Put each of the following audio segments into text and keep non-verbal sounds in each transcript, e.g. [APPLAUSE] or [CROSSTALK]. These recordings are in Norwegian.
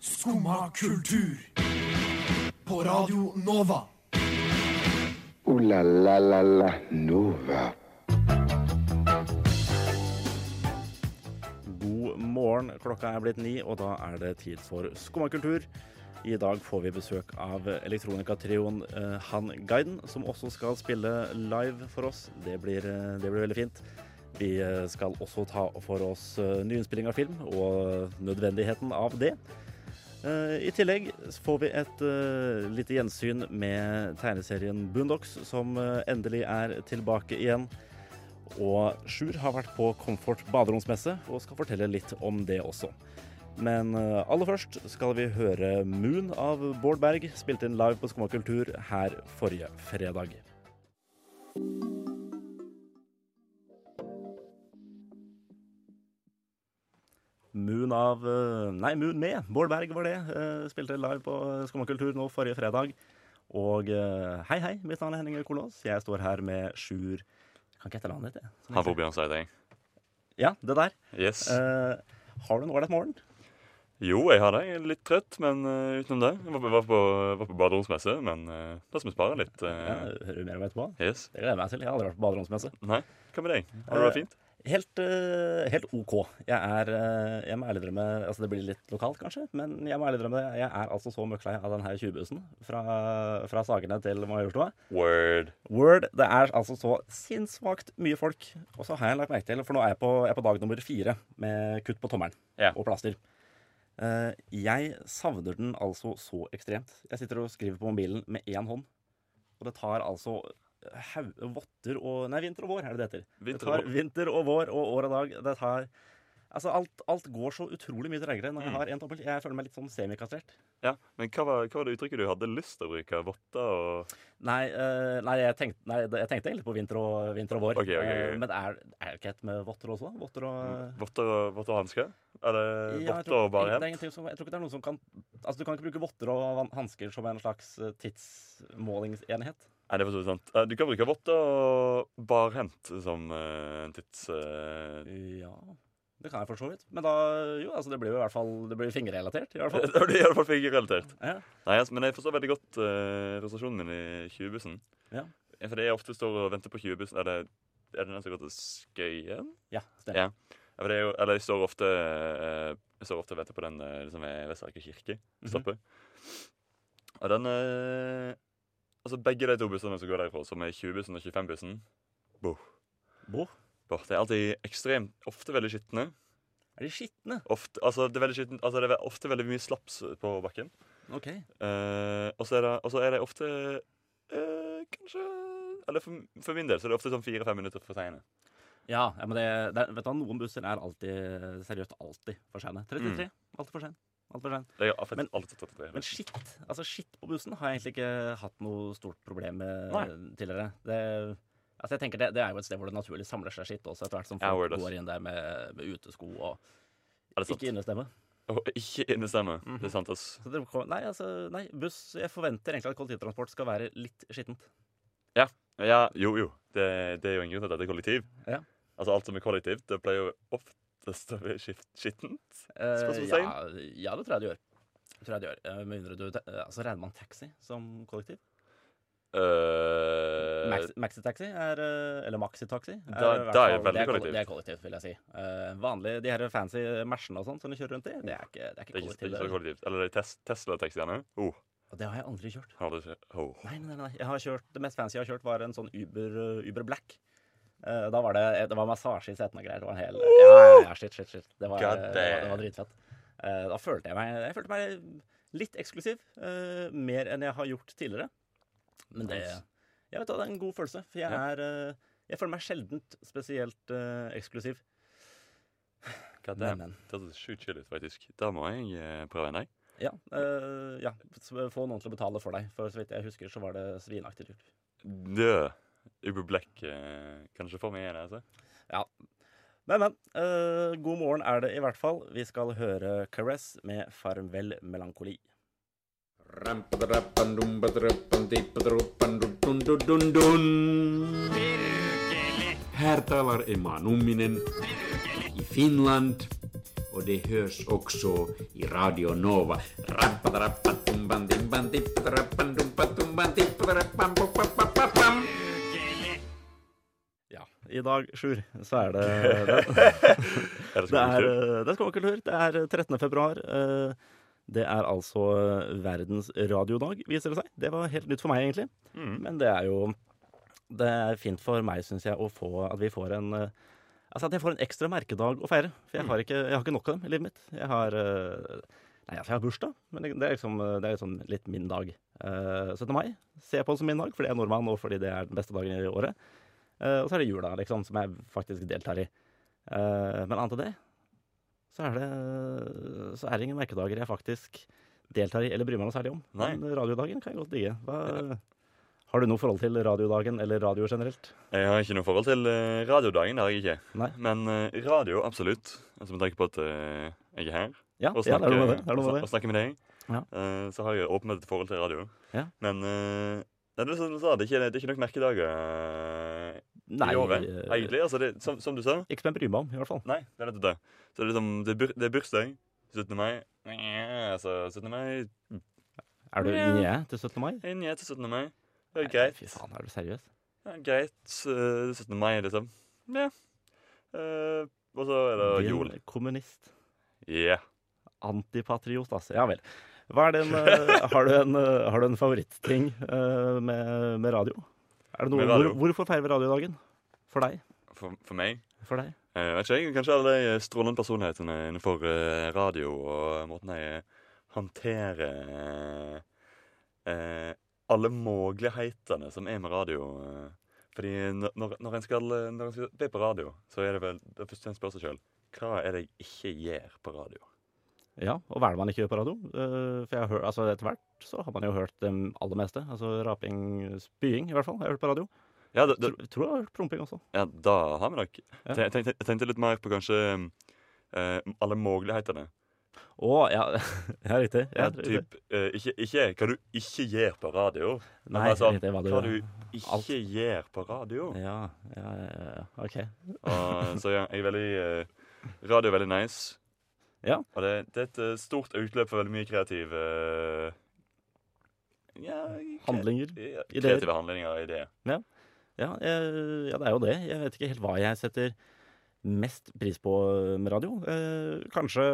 Skumma kultur. På Radio Nova. Ooh la la la la Nova. God morgen. Klokka er blitt ni, og da er det tid for skummakultur. I dag får vi besøk av elektronikatrioen eh, Han Guiden, som også skal spille live for oss. Det blir, eh, det blir veldig fint. Vi eh, skal også ta for oss eh, nyinnspilling av film og nødvendigheten av det. Eh, I tillegg så får vi et eh, lite gjensyn med tegneserien Boondocks, som eh, endelig er tilbake igjen. Og Sjur har vært på Comfort baderomsmesse og skal fortelle litt om det også. Men eh, aller først skal vi høre Moon av Bård Berg, spilt inn live på Skumma kultur her forrige fredag. Moon av eh, Nei, Moon med Bård Berg var det. eh, Spilte live på Skumma kultur nå forrige fredag. Og eh, hei, hei. Mitt navn er Henning Kolås. Jeg står her med Sjur Kan ikke etternavnet ditt, jeg. Som Han heter- får Bjørn Seideng. Ja, det der. Yes. Eh, har du en ålreit morgen? Jo, jeg har det. Jeg er litt trøtt, men eh, utenom det. Jeg var på, var på, var på baderomsmesse, men eh, la oss vi spare litt. Ja, eh, hører du mer om etterpå? yes. Det gleder jeg meg til. Jeg har aldri vært på baderomsmesse. Nei, hva med deg? Har det vært fint? Helt, eh, helt OK. Jeg er eh, Jeg må ærlig drømme Altså, det blir litt lokalt, kanskje, men jeg må ærlig drømme det. Jeg er altså så møkklei av denne 20-bussen fra, fra Sagene til Majorstua. Word. Word, det er altså så sinnssvakt mye folk. Og så har jeg lagt merke til, for nå er jeg på, jeg er på dag nummer fire med kutt på tommelen Ja. og plaster. Eh, jeg savner den altså så ekstremt. Jeg sitter og skriver på mobilen med én hånd. Og det tar altså haug- votter og Nei, vinter og vår er det det heter. Det Vinter og tar vår. vinter og vår og år og dag. Det tar Altså, alt, alt går så utrolig mye tregere når jeg Mm. har én tommel. Jeg føler meg litt sånn semikastrert. Ja, men hva var, hva var det uttrykket du hadde lyst til å bruke? Votter og Nei, eh, nei, jeg tenkte, nei, det- jeg tenkte egentlig på vinter og, vinter og vår. Ok, ok, ok. Eh, men er, er det ikke et med votter også? Votter og Votter og, votter og hansker? Er det Eh. Ja, jeg Eh, votter tror- og bare det er hent? ingenting som, jeg tror ikke det er noen som kan Altså, Du kan ikke bruke votter og hansker som en slags eh, tidsmålingsenhet. Nei, det er for så vidt sant. Eh, Du kan bruke votter og barhent som eh, en tids... eh, Ja, det kan jeg for så vidt. Men da Jo, altså, det blir jo i hvert fall Det blir fingerrelatert, i hvert fall. [LAUGHS] det blir i hvert fall fingerrelatert. Ja. Nei, altså, men jeg forstår veldig godt eh, frustrasjonen min i 20-bussen. Ja. Fordi jeg ofte står og venter på 20-bussen. Er det, er det den som går til Skøyen? Ja, stemmer. Ja. Ja, for det er jo, eller jeg står ofte eh, Jeg står ofte og venter på den eh, som er Vestlaker kirke. Stopper. Og den eh, Altså begge de to bussene som går derfra, som er 20-bussen og 25-bussen, Bo, Åh, det er alltid ekstremt Ofte veldig skitne. er de skitne? Ofte, altså, det er veldig skitten, altså, det er ofte veldig mye slaps på bakken. OK. Eh, og så er det- og så er det ofte eh, Kanskje Eller for, for min del så er det ofte sånn fire-fem minutter for seine. Ja, ja men det, det er- Vet du hva, noen busser er alltid Seriøst alltid for sene. 33. Mm. Alltid for sen. Alt for sen. Det er jo faktisk Men- alltid tatt etter. Men skitt, altså skitt på bussen har jeg egentlig ikke hatt noe stort problem med Nei. tidligere. Det, altså jeg tenker det, det er jo et sted hvor det naturlig samler seg skitt også, etter hvert som Ja, folk word, ass. går inn der med, med utesko og Er det sant? ikke Mhm. innestemme. Og ikke innestemme. Det er sant, ass. Så det, kom- nei, altså, nei, buss Jeg forventer egentlig at kollektivtransport skal være litt skittent. Ja, jo, jo. Det, det er jo en grunn til at dette er kollektiv. Ja. Altså Alt som er kollektiv, det pleier jo oftest å bli skift- skittent. Eh, ja, Spørsmålstegn? ja, det tror jeg det gjør. Det Tror jeg det gjør. Eh, Med mindre du te- eh, Altså, regner man taxi som kollektiv? Eh, Maxi- Maxitaxi er eh, Eller maxitaxi. er Da- i hvert da er fall- det kolle- veldig kollektivt. Det er kollektivt, vil jeg si. Eh, vanlig, de her fancy Mercene og sånn som de kjører rundt i, det er ikke, det er det er ikke ikke, det er ikke så kollektivt. kollektivt. Eller de tes Tesla-taxiene. Oh, Og det har jeg aldri kjørt. har du ikke oh. Nei, nei, nei, nei. Jeg har kjørt, det mest fancy jeg har kjørt, var en sånn Uber, eh, Uber Black. Eh, da var det, det var massasje i setene og greier. Det var en hel Ja, ja, ja, shit, shit, shit. Det var, God det var, det damn. var dritfett. Eh, da følte jeg meg Jeg følte meg litt eksklusiv. eh, mer enn jeg har gjort tidligere. Men det Nice. Jeg vet da, Det er en god følelse. For jeg Ja. er eh, Jeg føler meg sjeldent spesielt eh, eksklusiv. God Men, damn. men. Det hørtes sjukt chill ut, faktisk. Da må jeg eh, prøve en dag. Ja, eh, ja. s- Få noen til å betale for deg. For så vidt jeg husker, så var det svinaktig dyrt. Død. Uber Black eh, kan ikke få meg igjen, altså. Men, men. eh, god morgen er det i hvert fall. Vi skal høre Caress med 'Farvel melankoli'. Her talar Emma Numminen i Finland og det høres også i Radio Nova. Rappadarapatumbandimbandippadarapandumpatumbandippadaramboppapapapam. Ja. I dag, Sjur, så er [LAUGHS] det den. Er Det er, det skummelkultur? eh, det er skummakultur. Det er eh, 13. februar. Eh, Det er altså eh, verdens radiodag, viser det seg. Det var helt nytt for meg, egentlig. Men det er jo Det er fint for meg, syns jeg, å få at vi får en eh, Altså at jeg får en ekstra merkedag å feire. For jeg har ikke, jeg har ikke nok av dem i livet mitt. Jeg har eh, Nei, altså, jeg har bursdag, men det er liksom, eh, det er liksom litt min dag. Eh, 17. mai ser jeg på det som min dag, fordi jeg er nordmann, og fordi det er den beste dagen i året. Eh, og så er det jula, liksom, som jeg faktisk deltar i. Eh, men annet enn det, så er det, så er det ingen merkedager jeg faktisk deltar i eller bryr meg noe særlig om. Nei. Men radiodagen kan jeg godt digge. Hva, har du noe forhold til radiodagen eller radio generelt? Jeg har ikke noe forhold til eh, radiodagen. det har jeg ikke. Nei. Men eh, radio, absolutt. Altså Med tanke på at eh, jeg er her Ja, og ja det snakker, er noe med det. det, er og noe snak- med og det. snakker med deg, Ja. eh, så har jeg åpenbart et forhold til radio. Ja. Men eh, det er det som du sa, det er ikke, det er ikke nok merkedager eh, Nei, i året, eh, egentlig. Altså, det, som, som du sa. Ikke som jeg bryr meg om, i hvert fall. Nei, det er nettopp det. Så det er, liksom, det er, bur det er bursdag 17. mai. Nja, Altså, 17. mai Er du Ja. nye til 17. mai? Jeg er nye til 17. mai. Det er Nei, greit. Fy faen, er du seriøs? Det er greit. eh, 17. mai, liksom. Ja. Eh, og så er det Din jul. Kommunist. Ja. Antipatriot, altså. Ja vel. Hva er din, eh, har, du en, eh, har du en favoritting eh, med, med radio? Er det noe, Med radio? Hvor, hvorfor feirer vi radiodagen? For deg? For, for meg For deg? Eh, vet ikke jeg, Kanskje alle de strålende personlighetene innenfor eh, radio og måten de håndterer eh, eh, alle mulighetene som er med radio. eh. Fordi når, når, når en skal, eh, når en skal bli på radio, så er det vel det er først en spør seg sjøl hva er det jeg ikke gjør på radio. Ja, og hva er det man ikke gjør på radio? Eh, for jeg har hørt, altså Etter hvert så har man jo hørt det aller meste. Altså raping, spying i hvert fall, har jeg hørt på radio. Ja, det, det, Tror, tror jeg har hørt promping også. ja da har vi nok. Ja. Jeg tenkte, jeg tenkte litt mer på kanskje eh, alle mulighetene. Å, ja. [LAUGHS] ja, riktig. Ja, riktig. typ, eh, ikke, ikke hva du ikke gjør på radio. men Nei, altså, riktig hva du hva du ikke Alt. gjør på radio. Ja, ja, ja, ja. OK. Og, så ja, jeg er veldig eh, Radio er veldig nice. Ja. Og det, det er et eh, stort utløp for veldig mye kreativ eh, ja, kre- Handlinger. ja, ideer. Kreative handlinger og ideer. Ja, eh, ja, det er jo det. Jeg vet ikke helt hva jeg setter mest pris på med radio. Eh, kanskje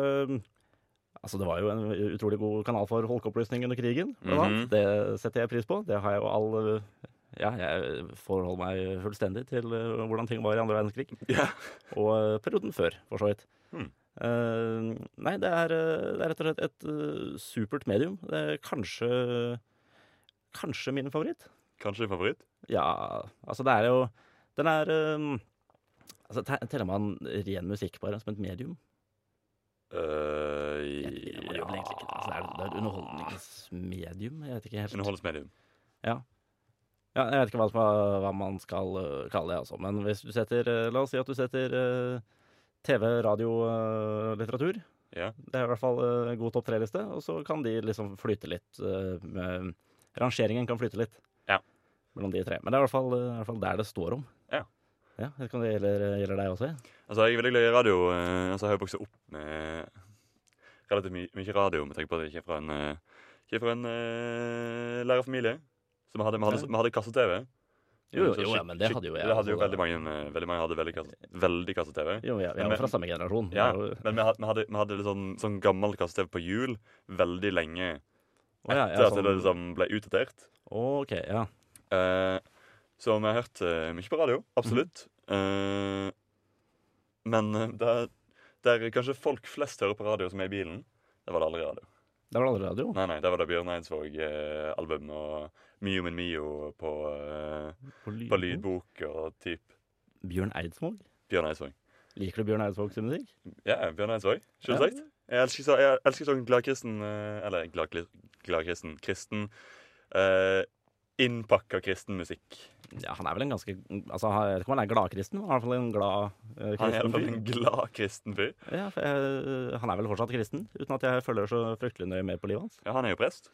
Altså, det var jo en utrolig god kanal for folkeopplysning under krigen. blant annet. Mhm. Det setter jeg pris på. Det har jeg jo all eh, Ja, jeg forholder meg fullstendig til eh, hvordan ting var i andre verdenskrig. Ja. Og eh, perioden før, for så vidt. Hmm. Eh, nei, det er, eh, det er rett og slett et eh, supert medium. Det er kanskje Kanskje min favoritt. Kanskje favoritt? Ja, altså det er jo Den er um, Altså, te- teller man ren musikk bare som et medium? Eh, Uh, Jeg jeg- man gjør vel egentlig ikke det. Altså, det, er, det er et underholdningsmedium. Jeg vet ikke helt Underholdsmedium. ja, Jeg vet ikke hva, som er- hva man skal uh, kalle det, altså. Men hvis du setter uh, La oss si at du setter uh, TV, radio, uh, litteratur. Ja. Det er i hvert fall uh, en god topp tre-liste. Og så kan de liksom flyte litt. Uh, med, rangeringen kan flyte litt Ja. mellom de tre. Men det er i hvert fall, uh, i hvert fall der det står om. Ja. Ja, jeg vet ikke om det gjelder, gjelder deg også? Altså, jeg er veldig glad i radio. eh, altså, jeg har jo vokst opp med relativt my mye radio, med tanke på at jeg ikke er fra en, eh, ikke er fra en eh, lærerfamilie. Så vi hadde, vi hadde, Ja. vi hadde kasse-TV. Jo, jo, Så jo, skikk- ja, men det skikk- hadde jo jeg Det hadde jo også, veldig mange, eh, veldig mange hadde veldig kasse- veldig kasse-TV. Jo, ja, vi er Men- jo fra samme generasjon. Ja, Det er jo- men vi hadde, vi hadde, vi hadde litt sånn, sånn gammel kasse-TV på hjul veldig lenge Å, etter [LAUGHS] ja, ja, at det sånn- liksom ble utdatert. Ok, ja. Eh, så vi har hørt eh, mye på radio, absolutt. Eh, men eh, der, der kanskje folk flest hører på radio som er i bilen, der var det aldri radio. Det var det aldri radio. Nei, nei, der var det Bjørn Eidsvåg-album og Mio min Mio på, eh, på lydbok og typ Bjørn Eidsvåg. Bjørn Eidsvåg. Liker du Bjørn Eidsvåg sin musikk? Ja, Bjørn Eidsvåg. Selvsagt. Jeg elsker, så, jeg elsker sånn gladkristen eh, Eller glad- gladkristen Kristen. Uh, innpakka kristen musikk. Ja, han er vel en ganske altså, han- Jeg vet ikke om han er gladkristen, men han er i hvert fall en glad eh, Han er i kristen hvert fall fyr. en sånn glad kristen fyr. Ja, for jeg, eh, han er vel fortsatt kristen, uten at jeg følger så fryktelig nøye med på livet hans. Ja, han er jo prest.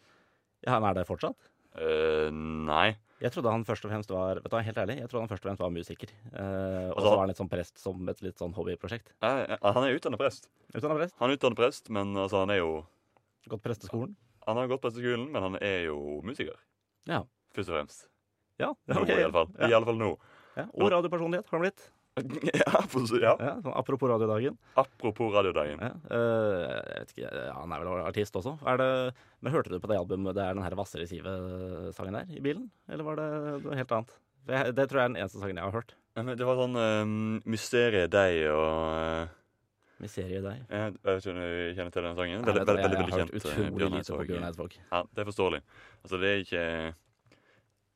Ja, han er det fortsatt? Eh, nei. Jeg trodde han først og fremst var vet du, hva, helt ærlig, jeg trodde han først og fremst var musiker. Eh, og Altså, så han- var han litt sånn prest som et litt sånn hobbyprosjekt. Nei, Han er utdannet prest. Utdanna prest. Han er utdannet prest, men altså, han er jo Gått presteskolen. Han har gått presteskolen, men han er jo musiker. Ja. Først og fremst. Ja, Nå, ok. i alle fall. I Ja. alle fall [LAUGHS] nå. Ja. Og radiopersonlighet har han blitt. ja, for, så- ja. Ja, sånn apropos radiodagen. Apropos Radiodagen. Ja, eh, jeg vet ikke, ja, han er vel artist også. Er det, men hørte du på det albumet det er den her Vassere Sive-sangen der i bilen? Eller var det noe helt annet? For jeg, det tror jeg er den eneste sangen jeg har hørt. Ja, men Det var sånn um, Mysteriet deg og Miserie i deg. eh, Jeg vet ikke om du kjenner til den Nei, sangen? Veldig, vet du hva, veldig, veldig, jeg har hørt kjent. eh, utrolig Bjørn lite på Eidsvåg. Bjørn Eidsvåg. Ja, det er forståelig. Altså, det er ikke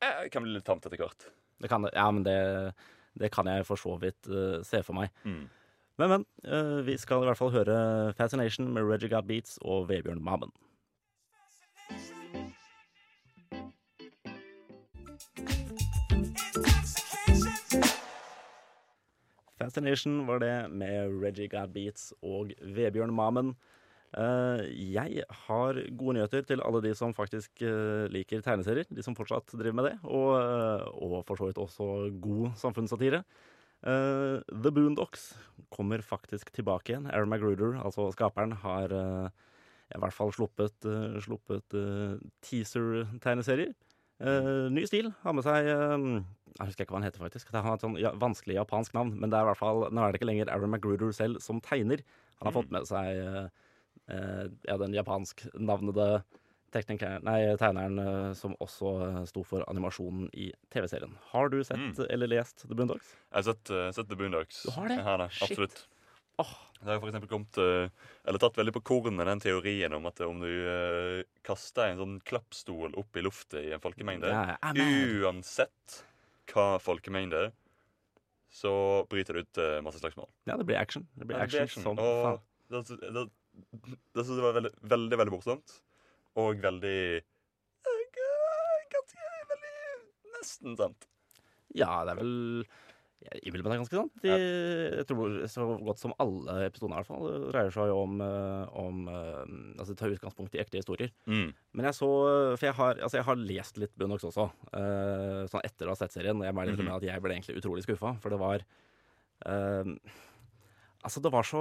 eh, Det kan bli litt tamt etter hvert. Det kan, ja, men det, det kan jeg for så vidt eh, se for meg. Mm. Men, men. eh, vi skal i hvert fall høre Fascination med Reggie God Beats og Vebjørn Mammen. Fascination var det med Reggie God Beats og Vebjørn Mammen. Eh, jeg har gode nyheter til alle de som faktisk eh, liker tegneserier. De som fortsatt driver med det. Og, eh, og for så vidt også god samfunnssatire. Eh, The Boondocks kommer faktisk tilbake igjen. Aaron Magruder, altså skaperen, har eh, i hvert fall sluppet, eh, sluppet eh, teaser-tegneserier. Eh, ny stil. Har med seg eh, Jeg husker ikke hva han heter, faktisk. Det har et sånn ja, vanskelig japansk navn, men det er i hvert fall, nå er det ikke lenger Aaron Magruder selv som tegner. Han har fått med seg eh, eh, ja, den japansknavnede teknikeren- nei, tegneren eh, som også eh, sto for animasjonen i TV-serien. Har du sett Mm. eller lest The Boondocks? Jeg har sett, eh, sett The Boondocks. Du har det? Jeg har det, Shit. Absolutt. Åh, Det har jo for eksempel kommet eh, Eller tatt veldig på kornet den teorien om at om du eh, kaster en sånn klappstol opp i luftet i en folkemengde Ja, ah, ja, men- Uansett hva folkemengde, så bryter det ut eh, masse slagsmål. ja, det blir action. Det blir Ja, det action, blir action, som faen. og det, det, det, det synes jeg var veldig, veldig, veldig morsomt. Og veldig eh, Ganske veldig Nesten sant. Ja, det er vel Jeg innbiller meg det er ganske sant. De, Jeg tror så godt som alle episodene i hvert fall det dreier seg jo om, eh, om eh, Altså det tar utgangspunkt i ekte historier. Mm. Men jeg så For jeg har, altså jeg har lest litt Bunnox også, eh, sånn etter å ha sett serien. Og jeg må ærlig innrømme at jeg ble egentlig utrolig skuffa, for det var eh, Altså, det var så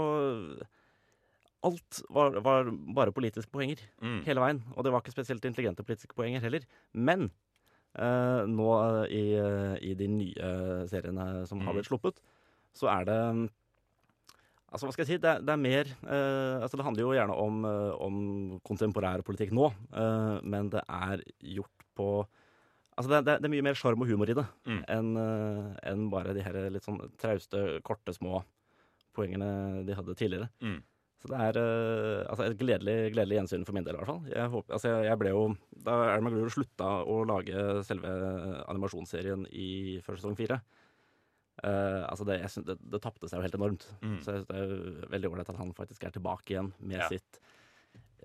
Alt var, var bare politiske poenger Mm. hele veien. Og det var ikke spesielt intelligente politiske poenger heller. Men eh, nå eh, i, eh, i de nye seriene som har blitt sluppet, så er det mm, Altså, hva skal jeg si? Det er, det er mer eh, Altså, det handler jo gjerne om, eh, om kontemporær politikk nå, eh, men det er gjort på Altså, det, er- det, er- det er mye mer sjarm og humor i det Mm. enn eh, enn bare de her litt sånn trauste, korte, små poengene de hadde tidligere. Mm. Så det er eh, altså et gledelig, gledelig gjensyn for min del, i hvert fall. Jeg, håper, altså, jeg ble jo, da Erlend Maglur slutta å lage selve animasjonsserien i første sesong fire. Eh, altså det, jeg synes, det, det tapte seg jo helt enormt. Mm. Så jeg synes det er jo veldig ålreit at han faktisk er tilbake igjen med Ja. sitt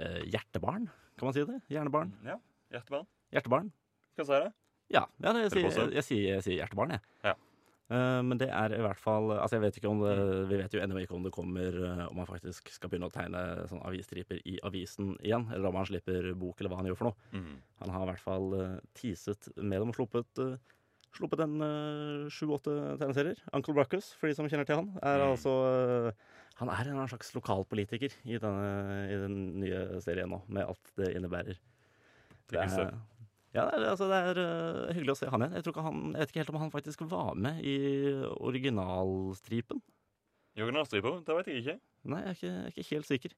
eh, hjertebarn, kan man si det? Hjernebarn? Ja. Hjertebarn. Hjertebarn? Hva sier det? Ja, ja det, jeg, sier, Vil du påstå? jeg, sier, jeg sier hjertebarn, jeg. Ja. Eh, men det er i hvert fall Altså jeg vet ikke om det, Mm. Vi vet jo ennå ikke om det kommer eh, Om han faktisk skal begynne å tegne sånn avisstriper i avisen igjen, eller om han slipper bok, eller hva han gjør for noe. Mm. Han har i hvert fall eh, teaset med dem og sluppet eh, Sluppet en eh, sju-åtte tegneserier. Uncle Ruckus, for de som kjenner til han, er Mm. altså eh, Han er en eller annen slags lokalpolitiker i, denne, i den nye serien nå, med alt det innebærer. Det Tenker er, ja, det er, altså, det er øh, hyggelig å se han igjen. Jeg, tror ikke han, jeg vet ikke helt om han faktisk var med i originalstripen. Jørgen Astripo? Det vet jeg ikke. Nei, jeg er ikke, jeg er ikke helt sikker.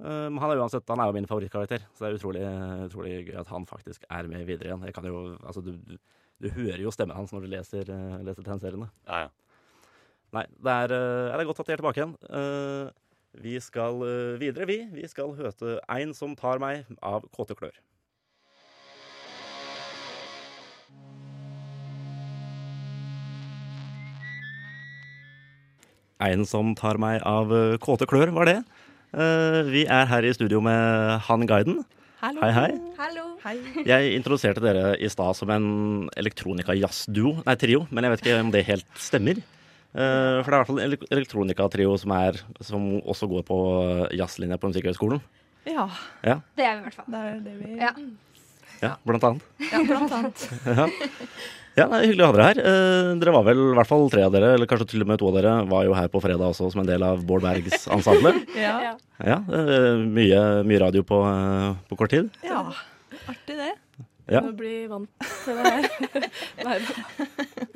Eh, Men han er uansett han er jo min favorittkarakter, så det er utrolig, utrolig gøy at han faktisk er med videre igjen. Jeg kan jo, altså, du, du, du hører jo stemmen hans når du leser, eh, leser tegneseriene. Ja, ja. Nei, det er, eh, det er godt at de er tilbake igjen. Eh, Vi skal eh, videre, vi. Vi skal høte Ein som tar meg av Kåte klør. Ein som tar meg av eh, kåte klør, var det. Eh, Vi er her i studio med Han Guiden. Hallo. Hei, hei. Hallo. Jeg introduserte dere i stad som en elektronika-jazz-duo, nei, trio, men jeg vet ikke om det helt stemmer. Eh, for det er i hvert fall en elek- elektronika-trio som, er- som også går på jazzlinja på Musikkhøgskolen. Ja, Ja. Det er vi i hvert fall. det er det vi Ja. Ja, blant annet. Ja, blant [LAUGHS] annet. Ja, nei, Hyggelig å ha dere her. Eh, dere var vel i hvert fall tre av dere, eller kanskje til og med to av dere, var jo her på fredag også som en del av Bård Bergs ensemble. [LAUGHS] Ja. Ja, eh, mye, mye radio på, eh, på kort tid. ja. Artig, det. Ja. Må bli vant til det her. [LAUGHS] Nei da.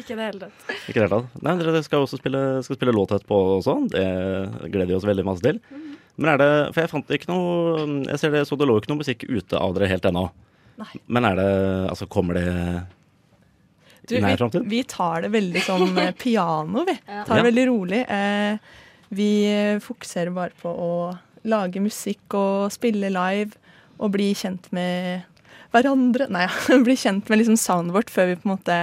Ikke i det hele tatt. Ikke i det hele tatt. Nei, dere skal jo også spille, skal spille låt etterpå også. Det gleder vi oss veldig masse til. Mhm. Men er det For jeg fant ikke noe Jeg ser det, så det lå ikke noe musikk ute av dere helt ennå. Nei. Men er det Altså, kommer det Du, i nær vi, framtid? vi tar det veldig [LAUGHS] sånn eh, piano, vi. Tar det Ja. veldig rolig. Eh, vi eh, fokuserer bare på å lage musikk og spille live og bli kjent med hverandre. Nei, [LAUGHS] bli kjent med liksom soundet vårt før vi på en måte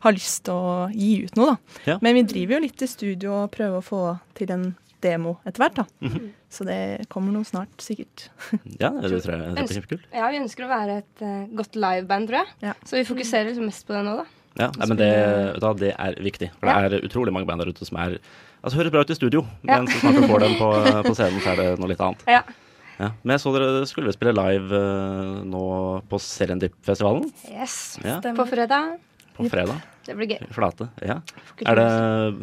har lyst til å gi ut noe, da. Ja. Men vi driver jo litt i studio og prøver å få til en demo etter hvert, da. Mhm. Så det kommer noe snart, sikkert. Ja, det tror jeg det blir kjempekult. Ja, vi ønsker å være et eh, godt liveband, tror jeg. Ja. Så vi fokuserer liksom mest på det nå, da. Ja, nei, men det, vet du hva, det er viktig. For det er utrolig mange band der ute som er Altså, høres bra ut i studio, Ja. men så snart du får dem på, på scenen, så er det noe litt annet. Ja. Ja. Men jeg så dere skulle vel spille live eh, nå på Serendipfestivalen Yes. Ja. På fredag. på fredag. Det blir gøy. I Flate. Ja. På Er det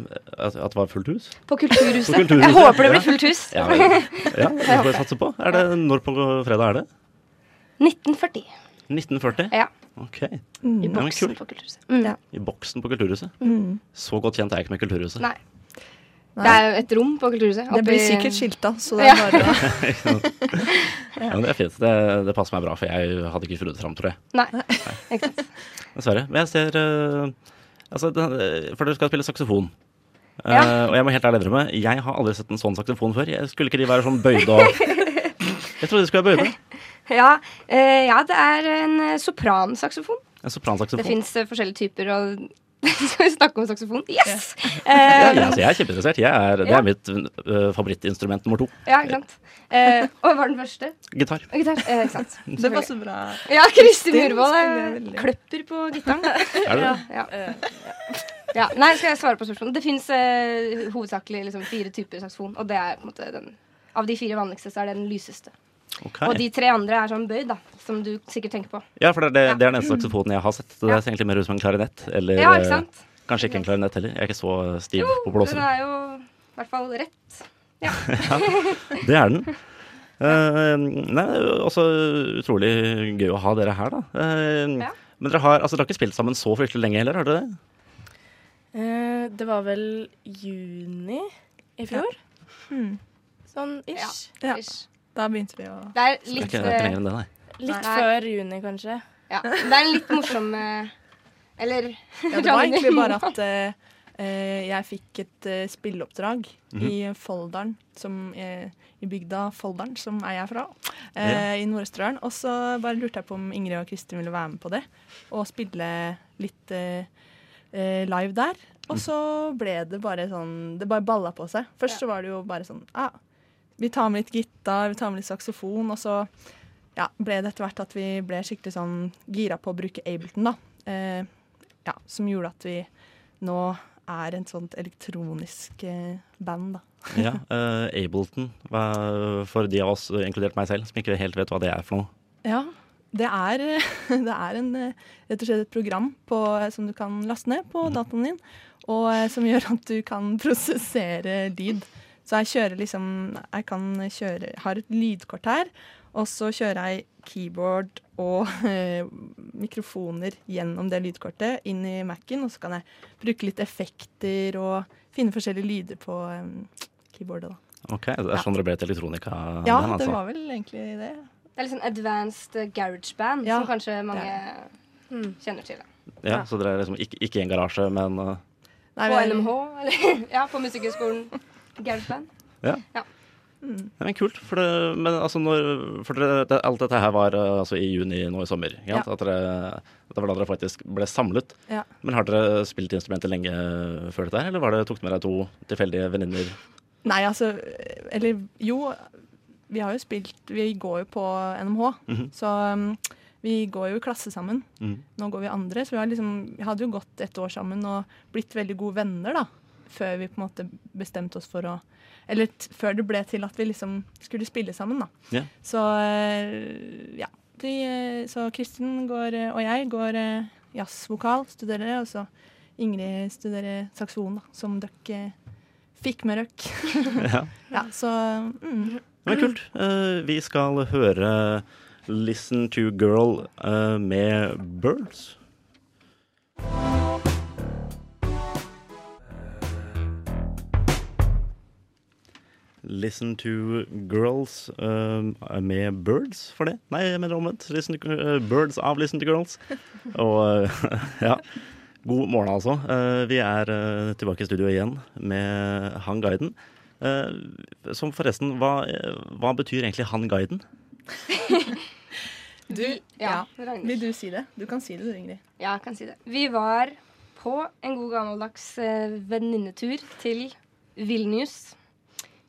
kulturhuset. at, at det var fullt hus? På kulturhuset. På Kulturhuset, Jeg håper det ja. blir fullt hus. Ja, [LAUGHS] vel. ja det får jeg satse på. Er det, når på fredag er det? 1940. 1940? Ja. Ok. I men boksen kult. på kulturhuset. Mm. Ja. I boksen på Kulturhuset? Så godt kjent er jeg ikke med Kulturhuset. Nei. Det er jo et rom på kulturhuset. Det oppi- blir sikkert skilta, så det er Ja. bare å Ja, men det er fint. Det, det passer meg bra, for jeg hadde ikke funnet det fram, tror jeg. Nei. [LAUGHS] Ikke sant. Dessverre. Men jeg ser eh, altså, den, For dere skal spille saksofon. Eh, Ja. og jeg må helt ærlig innrømme, jeg har aldri sett en sånn saksofon før. Jeg skulle ikke de være sånn bøyde [LAUGHS] og Jeg trodde de skulle være bøyde. Ja, eh, ja, det er en eh, sopransaksofon. En Det sopransaksofon. fins forskjellige typer, og [LAUGHS] skal vi snakke om saksofon? Yes! Ja, Eh, ja, altså, jeg er kjempeinteressert. Jeg er, Det Ja. er mitt eh, favorittinstrument nummer to. ja, ikke sant. [LAUGHS] Eh, og hva var den første? Gitar. Gitar. Eh, ikke sant. Det var så bra. Ja, Kristin Kristin Urvold spiller eh, veldig. kløpper på [LAUGHS] gitaren. Er det det? Ja. ja. Nei, skal jeg svare på spørsmålet? Det fins eh, hovedsakelig liksom, fire typer saksofon, og det er på en måte den av de fire vanligste så er det den lyseste. Ok. Og de tre andre er sånn bøyd, da, som du sikkert tenker på. Ja, for det, er det, det er den eneste saksofonen jeg har sett. Det Ja. ser egentlig mer ut som en klarinett. Eller Ja, ikke sant? eh, kanskje ikke en klarinett heller. Jeg er ikke så stiv på Den blåsere. er jo i hvert fall rett. Det er den. [LAUGHS] Eh, nei, også utrolig gøy å ha dere her, da. Eh, Ja. Men dere har, altså, dere har ikke spilt sammen så fryktelig lenge heller, har dere det? Eh, det var vel juni i fjor? Sånn ish. Ja. Hmm. Ish. Da begynte vi å Det Det er er litt ikke, det er ikke eh, lenger enn det, nei. Litt Nei. før juni, kanskje. Ja, det er en litt morsom eh, [LAUGHS] Eller Ja, det var egentlig [LAUGHS] bare at eh, eh, jeg fikk et eh, spilleoppdrag i Folldalen, som eh, i bygda Folldalen, som er jeg fra, eh, i Nord-Østerdalen. Og så bare lurte jeg på om Ingrid og Kristin ville være med på det, og spille litt eh, eh, live der. Og så ble det bare sånn Det bare balla på seg. Først så var det jo bare sånn ah, Vi tar med litt gitar, vi tar med litt saksofon, og så ja, ble det etter hvert at vi ble skikkelig sånn gira på å bruke Ableton, da. Eh, ja, som gjorde at vi nå er en sånt elektronisk eh, band, da. Ja, eh, Ableton, hva, for de av oss, eh, inkludert meg selv, som ikke helt vet hva det er for noe. Ja, det er, [LAUGHS] det er en, eh, rett og slett et program på, som du kan laste ned på dataen din, og eh, som [LAUGHS] gjør at du kan prosessere lyd. Så jeg kjører liksom Jeg kan kjøre Har et lydkort her, og så kjører jeg keyboard og eh, mikrofoner gjennom det lydkortet inn i Mac-en, og så kan jeg bruke litt effekter og finne forskjellige lyder på eh, keyboardet, da. Ok, Det er sånn det ble et elektronika? Ja, band, det altså. var vel egentlig det. Det er litt sånn advanced eh, garage band, Ja, som kanskje mange hmm, Mm. kjenner til. Da. ja, Så dere er liksom ikke, ikke i en garasje, men eh, Nei, På vi- LMH, eller [LAUGHS] ja, på Musikkhøgskolen. Garage band. Nei, men kult. For, det, men altså når, for dere, det, alt dette her var eh, altså i juni nå i sommer. Ikke sant? At dere, det var da dere faktisk ble samlet. Ja. Men har dere spilt instrumenter lenge før dette her, eller var det, tok dere med deg to tilfeldige venninner? Nei, altså Eller jo, vi har jo spilt Vi går jo på NMH, så um, vi går jo i klasse sammen. Mhm. Nå går vi andre, så vi har liksom, vi hadde jo gått et år sammen og blitt veldig gode venner, da. Før vi på en måte bestemte oss for å Eller t før det ble til at vi liksom skulle spille sammen, da. Ja. Så eh, ja. de, eh, så Kristin går, eh, og jeg går eh, jazzvokal, studerer det, og så Ingrid studerer saksofon, da, som dere eh, fikk med dere. Ja. [LAUGHS] ja, så mm. Men kult. Eh, vi skal høre 'Listen to Girl' eh, med Birds. Listen to Girls eh, med Birds, for det? Nei, jeg mener omvendt. Listen to, eh, birds av Listen to Girls. Og eh, [LAUGHS] ja. God morgen, altså. Eh, vi er eh, tilbake i studio igjen med Han Guiden. Eh, som forresten, hva, hva betyr egentlig han guiden? du, ja. Ja, Ragnhild. Vil du si det? Du kan si det, du, Ingrid. Ja, jeg kan si det. Vi var på en god gammeldags eh, venninnetur til Vilnius.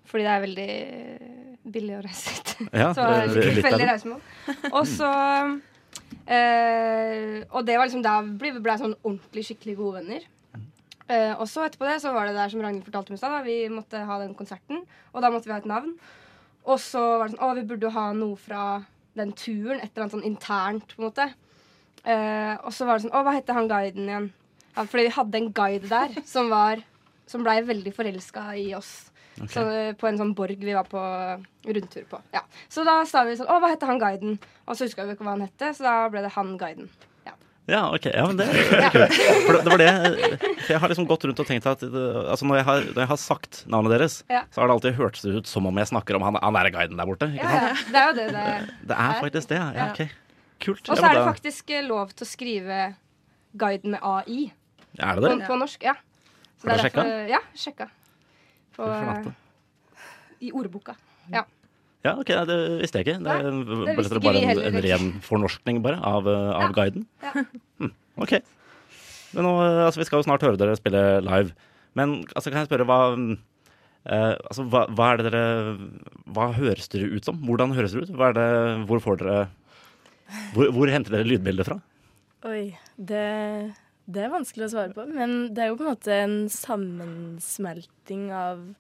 Fordi det er veldig eh, billig å reise ut. Ja, Så det var eh, litt et veldig av det. reisemål. Og så eh, Og det var liksom da vi ble, ble sånn ordentlig skikkelig gode venner. Eh, og så etterpå det så var det der som Ragnhild fortalte om i stad, da, vi måtte ha den konserten. Og da måtte vi ha et navn. Og så var det sånn Å, vi burde jo ha noe fra den turen. Et eller annet sånn internt, på en måte. Eh, og så var det sånn Å, hva heter han guiden igjen? Ja, fordi vi hadde en guide der som var Som blei veldig forelska i oss. Så, eh, på en sånn borg vi var på rundtur på. Ja. Så da sa vi sånn Å, hva heter han guiden? Og så huska vi ikke hva han het, så da ble det han guiden. Ja. Ja, ok. Ja, [LAUGHS] men det, det er kult. For det, det var det for Jeg har liksom gått rundt og tenkt at det, altså når, jeg har, når jeg har sagt navnet deres, Ja. så har det alltid hørtes ut som om jeg snakker om han, han der guiden der borte. Ikke sant? Ja, ja. Det er jo det det [LAUGHS] Det er faktisk det. ja. Ja, ok. Kult. Og så Ja, er men det da- faktisk eh, lov til å skrive guiden med AI Ja, Er det på, det? på norsk. Ja. Så Har det du er derfor- Ja, sjekka. På, eh, Fy flate. I ordboka. Ja, ok, ja, det visste jeg ikke. Det, Nei, er det visste bare- ikke vi bare heller. en, en ren fornorskning bare av, eh, av Ja. guiden. Ja. Hm, ok. Men nå, eh, altså, vi skal jo snart høre dere spille live. Men altså, kan jeg spørre hva mm, eh, altså, hva, hva er det dere Hva høres dere ut som? Hvordan høres dere ut? Hva er det, hvor får dere hvor, hvor henter dere lydbildet fra? Oi, det, det er vanskelig å svare på. Men det er jo på en måte en sammensmelting av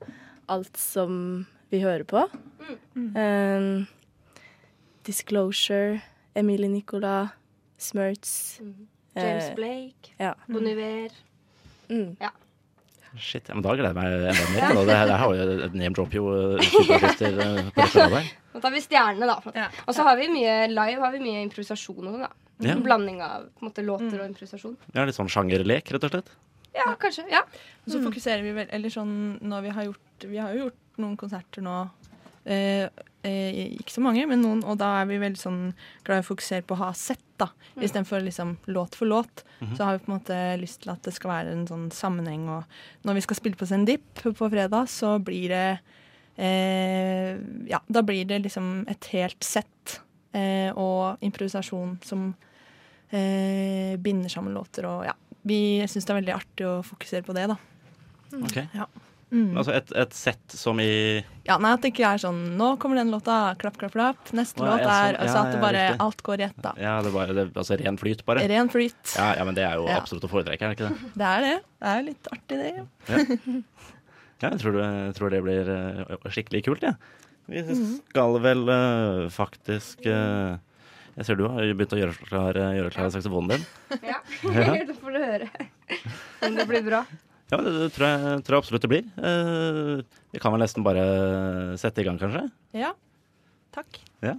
alt som vi hører på. Mm. Um, Disclosure, Emilie Nicolas, Smurts. Mm. James Eh, Blake, ja. Bon Iver Mm. Shit, ja, men Da gleder jeg meg enda mer. da. Det, her- det her har jo name-dropper jo eh, superartister eh, på det skjønnet der. Nå tar vi stjernene, da. på en måte. Ja. Og så har vi mye live har vi mye improvisasjon og sånn, da. Ja. En blanding av på en måte, låter og improvisasjon. Ja, litt sånn sjangerlek, rett og slett. Ja, kanskje. Ja. Og så fokuserer vi vel Eller sånn når vi har gjort Vi har jo gjort noen konserter nå. Eh, eh, ikke så mange, men noen. Og da er vi veldig sånn glad i å fokusere på å ha sett, da. Istedenfor liksom låt for låt. Så har vi på en måte lyst til at det skal være en sånn sammenheng. Og når vi skal spille på Sendip på fredag, så blir det eh, Ja, da blir det liksom et helt sett. Eh, og improvisasjon som eh, binder sammen låter og ja. Vi syns det er veldig artig å fokusere på det, da. Ok. Ja. Altså et, et sett som i Ja, nei, At det ikke er sånn Nå kommer den låta, klapp, klapp, klapp. Neste Å, ja, låt er sånn. altså Ja, At det ja, bare riktig. alt går i ett, da. Ja, det er bare, det, altså ren flyt, bare. Ren flyt. Ja, ja, men det er jo Ja. absolutt å foretrekke, er det ikke det? Det er det. Det er jo litt artig, det. Ja, jeg tror, det- jeg tror det blir eh, skikkelig kult, jeg. Ja. Vi skal vel eh, faktisk eh, Jeg ser du har begynt å gjøre klar, eh, gjøre klar saksofonen din. [LAUGHS] ja. Ja. da får du høre om det blir bra. Ja, men det, det tror, jeg, tror jeg absolutt det blir. Eh, vi kan vel nesten bare eh, sette i gang, kanskje? Ja. Takk. Ja.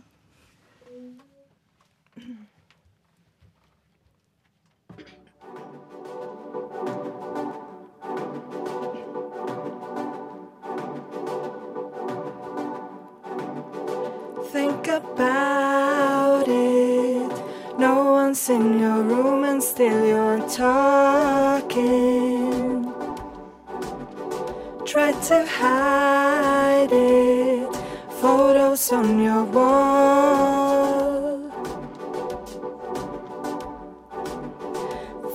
Think about it. No one's in your room and still you're talking. Try to hide it. Photos on your wall.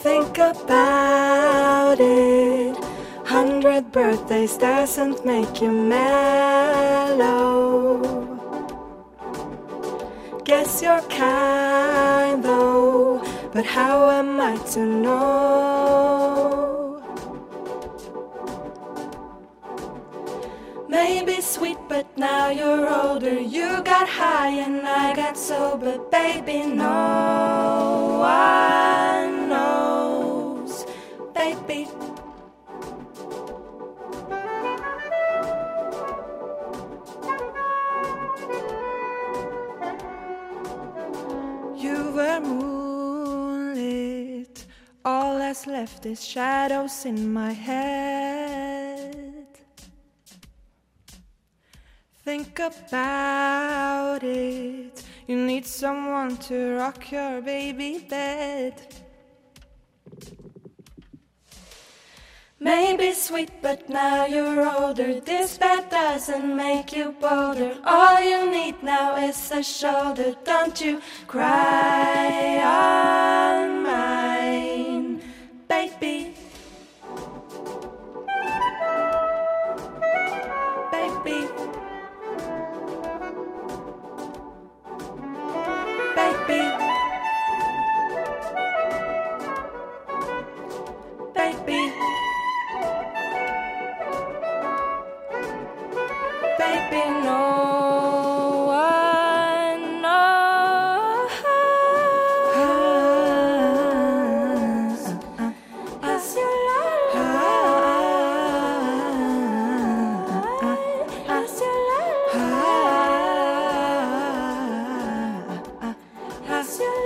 Think about it. Hundred birthdays doesn't make you mellow. Guess you're kind though, but how am I to know? Baby, sweet, but now you're older. You got high and I got sober. Baby, no one knows. Baby, You were moonlit. All that's left is shadows in my head. Think about it. You need someone to rock your baby bed. Maybe sweet, but now you're older. This bed doesn't make you bolder. All you need now is a shoulder. Don't you cry on mine, baby. Baby. Baby. Baby. Baby, no one knows. As you lie, as you lie, as you lie, as you lie.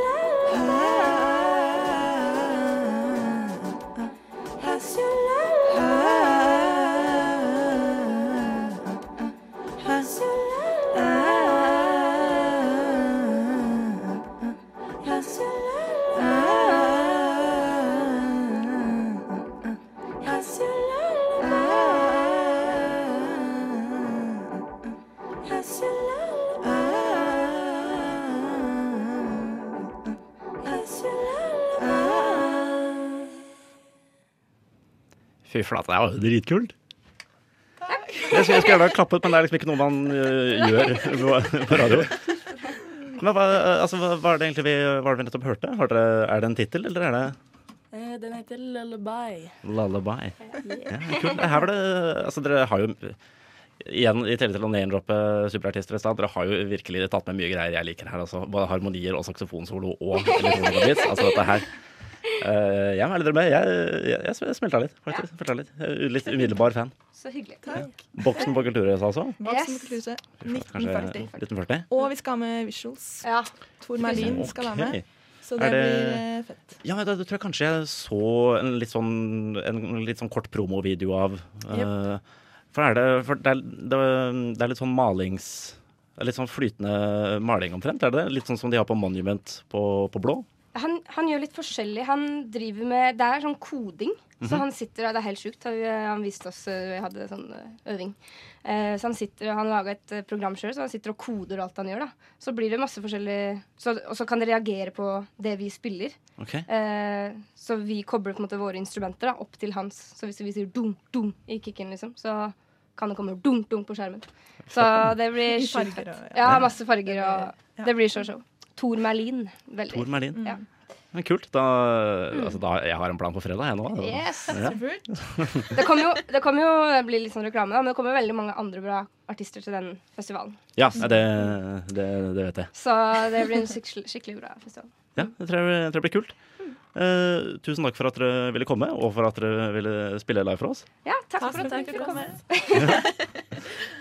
Fy flate, det var jo dritkult. Jeg skulle jeg skulle gjerne ha klappet, men det er liksom ikke noe man øh, gjør på- på radio. Men hva, altså, hva hva er det egentlig vi, hva er det vi nettopp hørte? Har dere, er det en tittel, eller er det Eh, Den heter Lullaby. Lullaby. Ja, kult. Her var det, altså dere har jo Igjen, I tillegg til å name-droppe superartister i stad, dere har jo virkelig tatt med mye greier jeg liker her. Altså. Både harmonier og saksofonsolo og elektronikabits. Altså dette her. Eh, jeg må ærlig innrømme, jeg, jeg, jeg smelta litt, faktisk. Smelta litt. Jeg er litt umiddelbar fan. Så hyggelig. Boksen på Kulturhuset, altså. Voksen Yes. kulturhuset. 1940. Kanskje 1940? Og vi skal ha med visuals. Ja. Tor Merlin skal være med. Ok. Så Er det, det- blir eh, fett. Ja, da, da tror jeg kanskje jeg så en litt sånn, en litt sånn kort promovideo av eh, For, er det, for det, er, det, det er litt sånn malings Litt sånn flytende maling omtrent, er det det? Litt sånn som de har på Monument på, på blå? Han, han gjør litt forskjellig. Han driver med Det er sånn koding. Så han sitter og Det er helt sjukt. Han, han viste oss eh, Vi hadde sånn eh, øving. Eh, så han sitter og Han laga et eh, program sjøl, så han sitter og koder alt han gjør. da Så blir det masse forskjellig så, Og så kan det reagere på det vi spiller. Ok. Eh, så vi kobler på en måte våre instrumenter da, opp til hans. Så hvis vi sier dunk, dunk i kicken, liksom, så kan det komme dunk, dunk på skjermen. Så det blir I sjukt farger fett. og- Ja, masse farger. Ja. Og det blir så show. Tor Merlin. Veldig. Tor Merlin. Mm. Ja. Men kult. Da, altså, da, jeg har en plan på fredag, jeg nå. Yes. Ja. Det kommer jo, det kommer jo det blir litt sånn reklame, da, men det kommer veldig mange andre bra artister til den festivalen. Ja, nei, det, det, det vet jeg. Så det blir en skikkelig, skikkelig bra festival. Ja, det tror jeg, jeg tror det blir kult. Eh, tusen takk for at dere ville komme, og for at dere ville spille live for oss. Ja, takk, Takk for at du fikk fikk komme. [LAUGHS]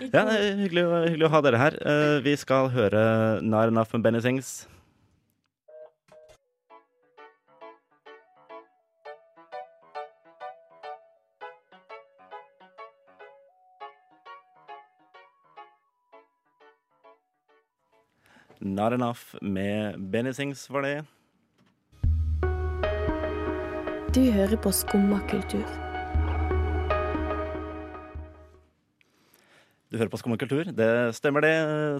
Ja, det er hyggelig, å- hyggelig å ha dere her. Eh, vi skal høre Not Enough med Benny Sings. Not Enough med Benny Sings var det. Du hører på Skumma kultur. Du hører på Skum og kultur. Det stemmer det.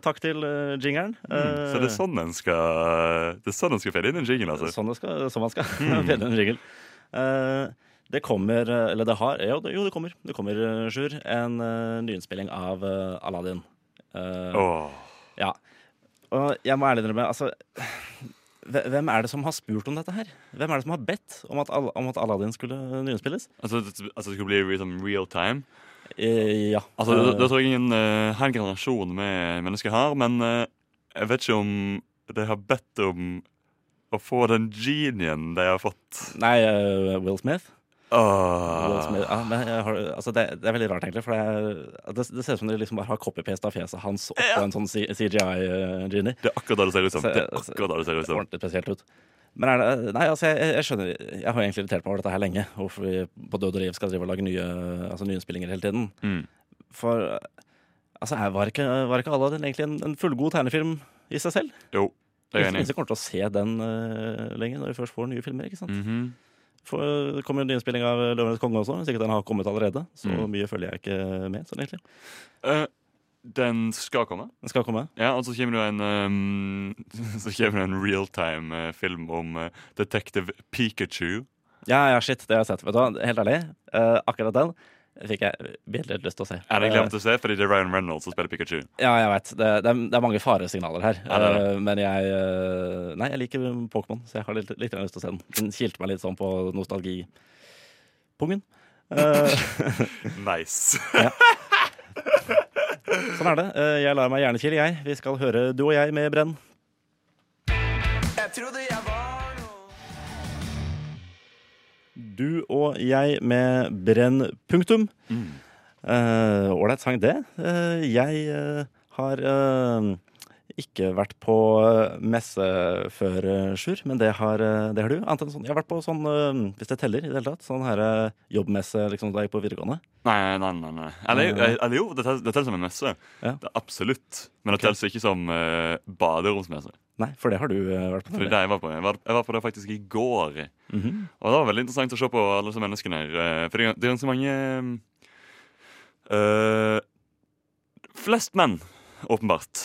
Takk til eh, jingeren. Mm, Så det er Eh, sånn en skal Det er sånn en skal felle inn en jingle, altså. Mm. Sånn det skal, sånn man skal. [LAUGHS] Felle en jingle. Eh, det kommer, eh, eller det har Jo, det, jo, det kommer, det kommer eh, Sjur, en eh, nyinnspilling av eh, Aladdin. Eh, Åh. Ja. Og jeg må ærlig innrømme, altså hve- Hvem er det som har spurt om dette her? Hvem er det som har bedt om at, Al- om at Aladdin skulle eh, nyinnspilles? Altså, det- altså det skulle bli liksom sånn real time? Eh, ja. Altså, det, det tror jeg er en eh, hel generasjon med mennesker her, men eh, jeg vet ikke om de har bedt om å få den genien de har fått. Nei, eh, Will Smith. Åh. Will Smith. Ja, men jeg har, altså det, det er veldig rart, egentlig. For det, er- det, det ser ut som de liksom bare har copy-paste av fjeset hans oppå en sånn CGI-genie. Det er akkurat det det ser ut som. Så- Det er akkurat det det ser ut som. ordentlig spesielt ut. Men er det, nei, altså, jeg, jeg skjønner Jeg har jo egentlig irritert meg over dette her lenge. Hvorfor vi på død og liv skal drive og lage nye Altså nyinnspillinger hele tiden. Mm. For altså, er- var ikke, var ikke Aladdin egentlig en, en fullgod tegnefilm i seg selv? Jo, det er jeg enig Ingen i. kommer til å se den uh, lenge når vi først får nye filmer. ikke sant? Mhm. For, det kommer jo en nyinnspilling av Løvenes konge også, hvis ikke den har kommet allerede. Så Mm. mye følger jeg ikke med. sånn egentlig Eh, Den skal komme. Den skal komme. Ja, og så kommer det en um, [LAUGHS] Så kommer det en realtime-film om eh, Detective Pikachu. Ja, ja, shit, det har jeg sett. Vet du hva, helt ærlig, eh, akkurat den fikk jeg veldig lyst til å se. Er det Eh, glemt å se, fordi det er Ryan Reynolds som spiller Pikachu. Ja, jeg vet. Det, det, er, det er mange faresignaler her. Ja, det er Eh, Men jeg eh, Nei, jeg liker Pokémon, så jeg har litt, litt grann lyst til å se den. Den kilte meg litt sånn på nostalgipungen. Eh, Nice. sånn er det. Eh, jeg lar meg gjerne kile, jeg. Vi skal høre du og jeg med Brenn. Du og jeg med Brenn punktum. Eh, Ålreit sang, det. Eh, jeg eh, har eh, ikke vært på eh, messe før, eh, Sjur, men det har, eh, det har du. Annet enn sånn, jeg har vært på sånn, eh, hvis det teller i det hele tatt, sånn her eh, jobbmesse liksom, da jeg gikk på videregående. [LAUGHS] Nei, nei, nei. nei. Eller, eh, Nei. eller jo, det tel- det teller som en messe. Mm. Ja. Det er Absolutt. Men det teller ikke som eh, baderomsmesse. Nei, for det har du eh, vært på. For det er nemlig. det jeg var på. Jeg var, jeg var på det faktisk i går. Mhm. Og det var veldig interessant å se på alle disse menneskene her. eh, For det er gans- det er ganske mange eh, Flest menn, åpenbart.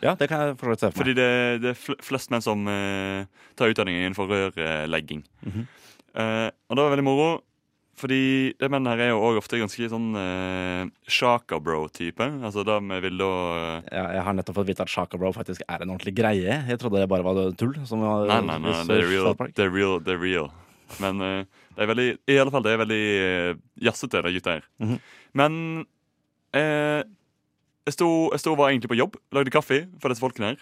Ja, det kan jeg for så vidt se for meg. Fordi det, det er fl- flest menn som eh, tar utdanning innenfor rørlegging. Mhm. Eh, og det var veldig moro, fordi de mennene her er jo også ofte ganske sånn uh, shaka-bro-type. Altså de vil da eh, Ja, jeg har nettopp fått vite at Shaka Bro faktisk er en ordentlig greie. Jeg trodde det bare var tull. Som var, Nei, nei, nei, det er real. South Park. Det er real, det er real. Men eh, det er veldig, i alle fall, det er veldig eh, jazzete, de gutta her. Mhm. Men eh, jeg, sto, jeg sto og var egentlig på jobb, lagde kaffe for disse folkene her.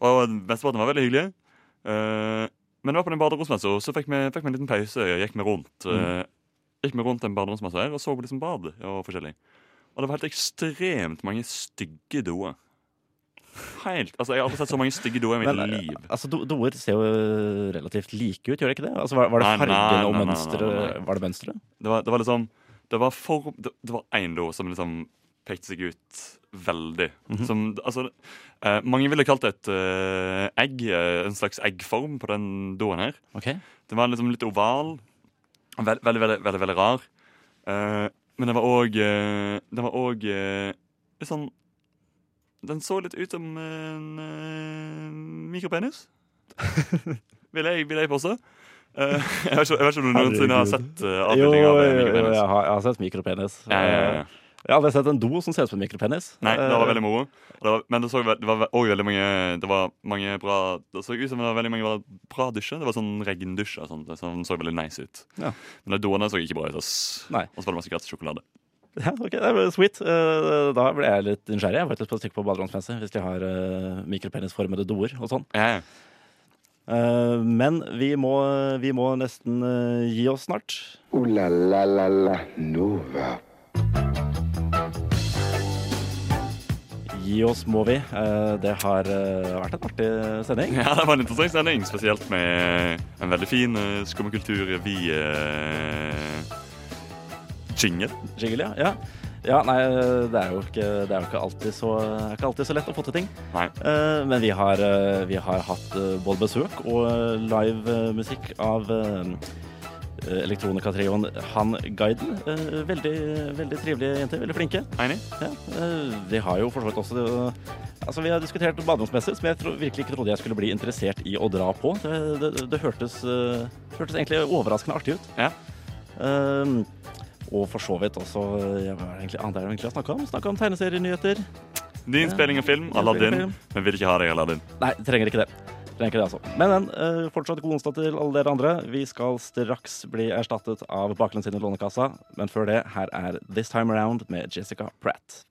Og mesteparten var veldig hyggelige. Eh, men det var på den baderomsmessa, og så fikk vi, fikk vi en liten pause. Jeg gikk meg rundt Mhm. eh, Gikk meg rundt den baderomsmessa her, og så på liksom bad og forskjellig. Og det var helt ekstremt mange stygge doer. Helt, altså Jeg har aldri sett så mange stygge doer i mitt Men, eh, liv. Altså, do- Doer ser jo relativt like ut, gjør de ikke det? Altså, var, var det Nei, nei, fargene og nei, nei, nei, nei, mønsteret? nei. Var det mønsteret? Det var, det var liksom Det var for Det, det var én do som liksom pekte seg ut veldig. Som Altså eh, Mange ville kalt det et eh, egg. eh, en slags eggform på den doen her. Ok. Den var liksom litt oval. og Veld, veldig, veldig, veldig, veldig rar. Eh, men den var òg eh, Den var òg eh, litt sånn Den så litt ut som en eh, [LAUGHS] mikropenis. vil, jeg, vil jeg påstå. Eh, [LAUGHS] jeg, vet ikke, jeg vet ikke om du noensinne har Herregud. sett uh, avbilding av en jo, mikropenis. jeg har, jeg har sett mikropenis. Eh, Ja, ja, ja. Jeg har aldri sett en do som ser ut som en mikropenis. Nei, det var Eh, veldig moro. Og Det var, men det, så, ve- det var òg veldig mange Det var mange bra Det så ut som det var veldig mange bra, bra dusjer. Det var sånn regndusjer sånn, som så veldig nice ut. Ja. Men de doene så ikke bra ut. ass. Nei. Og så var det masse gratis sjokolade. Eh, [LAUGHS] Ja, ok, det er Sweet. Eh, Da ble jeg litt nysgjerrig. Jeg var faktisk på et stykke på baderomsmesse hvis de har eh, mikropenisformede doer og sånn. Ja, ja. Eh, Men vi må, vi må nesten eh, gi oss snart. Ooh la la la la Nova. Gi oss må vi. Eh, Det har eh, vært en artig sending. ja, det var en interessant sending, spesielt med en veldig fin uh, skummekultur via jingle. Jingle, ja. ja. Ja, nei, det er jo ikke, det er jo ikke, alltid, så, det er ikke alltid så lett å få til ting. Nei. Eh, men vi har, eh, vi har hatt eh, både besøk og eh, live eh, musikk av eh, elektronikatrioen Han Guiden. Eh, veldig, veldig trivelige jenter, veldig flinke. Enig? Ja, eh, vi har jo for så vidt også det, Altså, vi har diskutert baderomsmesser, som jeg tro, virkelig ikke trodde jeg skulle bli interessert i å dra på. Det, det, det hørtes, eh, hørtes egentlig overraskende artig ut. Ja. Ehm, og for så vidt også ja, Hva er det egentlig, annet er det egentlig å snakke om? Snakke om tegneserienyheter. Din spilling av film, Aladdin. Men vil ikke ha deg, Aladdin. Nei, trenger ikke det. Trenger ikke det, altså. Men men, eh, fortsatt god onsdag til alle dere andre. Vi skal straks bli erstattet av Baklengs inn i Lånekassa, men før det, her er This Time Around med Jessica Pratt.